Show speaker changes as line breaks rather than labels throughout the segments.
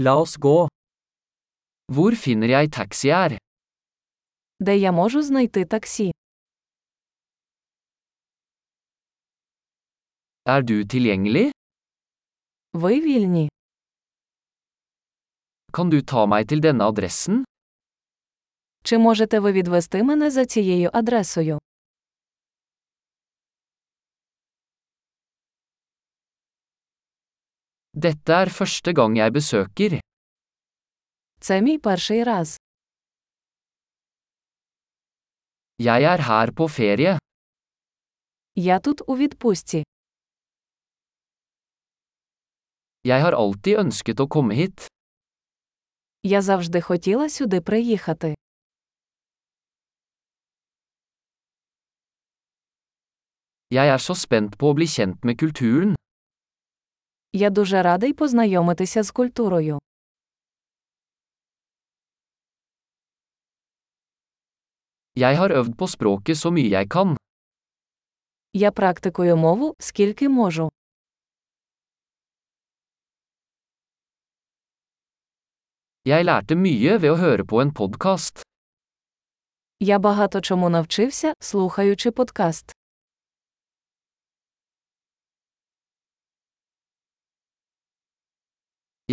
La oss gå. Hvor finner jeg taxi her?
Де я можу знайти таксі?
Er du tilgjengelig?
Ви вільні?
Kan du ta meg til denne adressen?
Чи можете ви відвести мене за цією адресою?
Dette er første gang jeg besøker.
Це мій перший раз.
Jeg er her på ferie.
Я тут у відпустці.
Jeg har alltid ønsket å komme hit.
Я завжди хотіла сюди приїхати.
Jeg er så spent på å bli kjent med kulturen.
Я дуже радий познайомитися з культурою.
Jeg har øvd på språket så mye jeg kan.
Я практикую мову, скільки можу.
Jeg lærte mye ved å høre på en podkast.
Я багато чому навчився, слухаючи подкаст.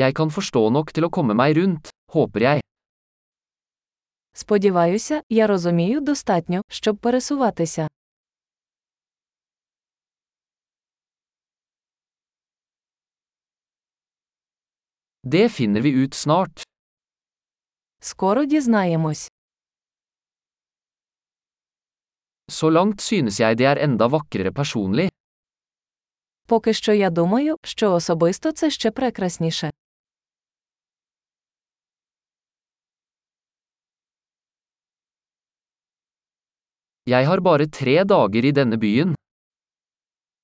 Jeg kan forstå nok til å komme meg rundt, håper jeg.
Сподіваюся, я розумію достатньо, щоб пересуватися.
Det finner vi ut snart.
Скоро дізнаємось.
Så langt synes jeg de er enda vakrere personlig.
Поки що я думаю, що особисто це ще прекрасніше.
Jeg har bare tre dager i denne byen.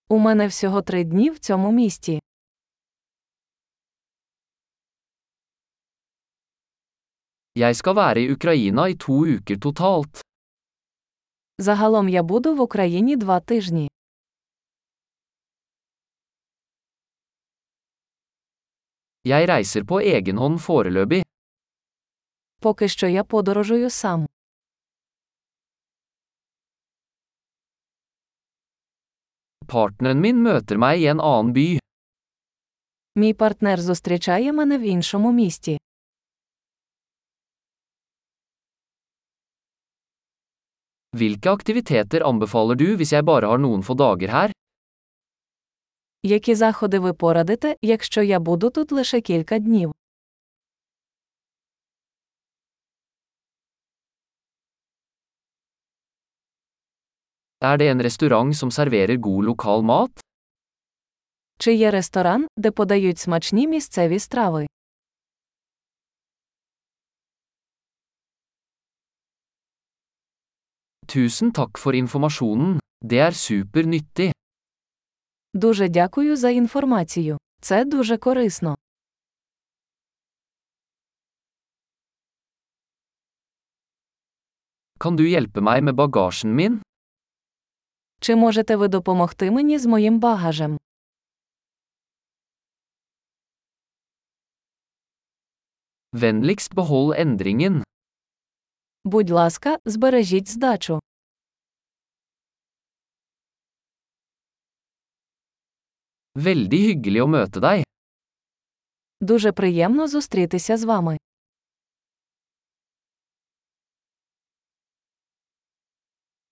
У мене всього три дні в цьому місті.
Jeg skal være i Ukraina i to uker totalt.
Загалом я буду в Україні два тижні.
Jeg reiser på egen hånd foreløpig.
Поки що я подорожую сам.
Partneren min møter meg i en annen by.
Мій партнер зустрічає мене в іншому місті.
Hvilke aktiviteter anbefaler du hvis jeg bare har noen få dager her?
Які заходи ви порадите, якщо я буду тут лише кілька днів?
Er det en restaurant som serverer god lokal mat?
Чи є ресторан, де подають смачні місцеві страви?
Tusen takk for informasjonen. Det er supernyttig.
Дуже дякую за інформацію. Це дуже корисно.
Kan du hjelpe meg med bagasjen min?
Чи можете ви допомогти мені з моїм багажем?
Vennligst behold endringen.
Будь ласка, збережіть здачу.
Veldig hyggelig å møte deg.
Дуже приємно зустрітися з вами.